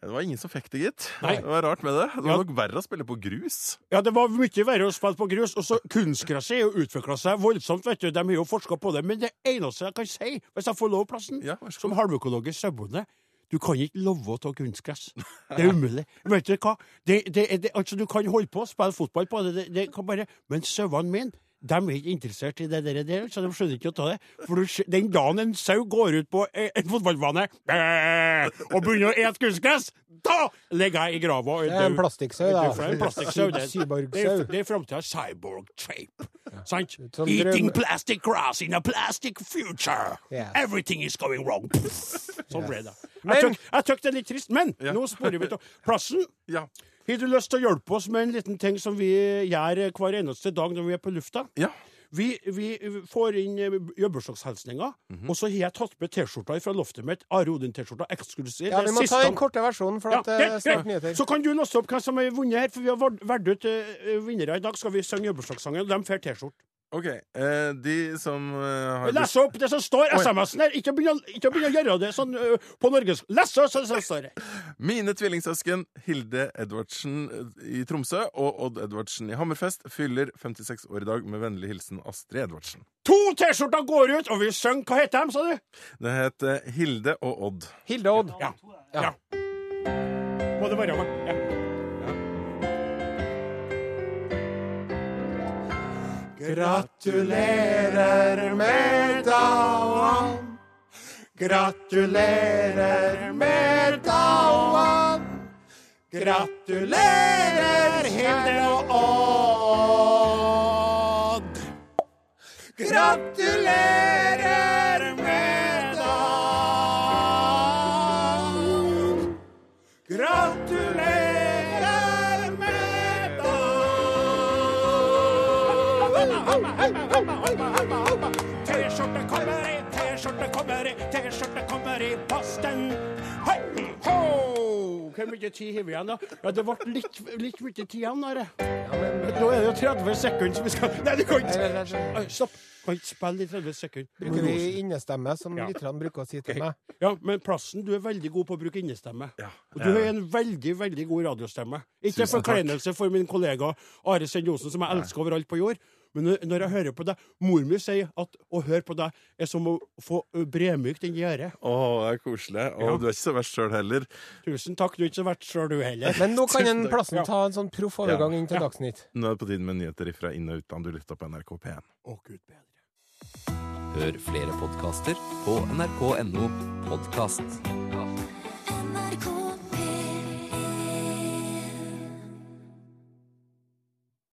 Det var ingen som fikk det, gitt. Nei. Det var rart med det. Det var Ja. nok verre å spille på grus. Ja, det var mye verre å spille på grus. Og så kunstgresset er jo utvikla seg voldsomt, vet du. De har jo forska på det. Men det eneste jeg kan si, hvis jeg får lov plassen, Ja, vær så som halvøkologisk sauebonde du kan ikke love å ta kunstgress. *laughs* Det er umulig. Vet du hva? Det, det, er- det, altså, du kan holde på å spille fotball på det, det, det kan bare Men sauene mine de er ikke interessert i det der, der, så de skjønner ikke å ta det. For du, skj- Den dagen en sau går ut på eh, en fotballbane *laughs* eh, og begynner å ete kunstgress, da ligger jeg i grava og er Det er en død. plastikksau, Det da. er fra en plastikksau. det. Det Cyborgsau. er- Det er framtida cyborg tape. Sant? Som drøm- Eating plastic grass in a plastic future. Yes. Everything is going wrong. *laughs* Sånn ble det. Jeg Men- tøk, jeg tøk det er litt trist, men nå sporer vi til plassen. Ja. Har du lyst til å hjelpe oss med en liten ting som vi gjør hver eneste dag når vi er på lufta? Ja. Vi, vi får inn eh, gjør bursdagshilsninger, og så har jeg tatt med T-skjorta fra loftet mitt. Are Odin-T-skjorta eksklusiv. Ja, Det er vi må ta siste- den korte versjonen, for ja, at det er greit, snart greit. nyheter. Så kan du låse opp hvem som har vunnet her, for vi har vald- valgt ut eh, vinnere i dag. Skal vi synge jubileumssangen, og de får T-skjorte. Ok, eh, de som eh, har Les opp det som står i Oi. SMS-en her! Ikke begynn å- ikke begynn å gjøre det sånn eh, på Norges Les opp det som står her! Mine tvillingsøsken Hilde Edvardsen eh, i Tromsø og Odd Edvardsen i Hammerfest fyller 56 år i dag med vennlig hilsen Astrid Edvardsen. To T-skjorter går ut, og vi synger Hva heter de, sa du? Det heter Hilde og Odd. Hilde Odd. Ja. ja. Må det være meg? Ja. Gratulerer med dagen. Gratulerer med dagen. Gratulerer, Hilde og Odd. Gratulerer med dagen. Gratulerer med dagen. T-skjorte kommer i, T-skjorte kommer i, T-skjorte kommer i posten. Hei, ho! Hvor mye tid har vi igjen, da? Ja, Det ble litt, litt mye tid igjen. Are. Nå er det jo 30 sekunder som vi skal Nei, du kan ikke Oi, Stopp! Kan ikke spille i 30 Bruker vi sekunder. innestemme, som Ja. lytterne bruker å si til meg? Ja, men Plassen, du er veldig god på å bruke innestemme. Ja, Og du er en veldig, veldig god radiostemme. Ikke Tusen takk. forkleinelse for min kollega Are Send Osen, som jeg elsker overalt på jord. Men når- når jeg hører på deg Mor mi sier at å høre på deg er som å få ø, bremykt inn i øret. Å, det er koselig. Og du er ikke så verst sjøl heller. Tusen takk, du er ikke så verst sjøl, du heller. Men nå kan en Tusen takk. plassen ta en sånn proff overgang inn til Dagsnytt. Nå er det på tide med nyheter fra inn- og utland. Du lytter på NRK P1. Å, Gud bedre. Hør flere podkaster på nrk.no podkast. NRK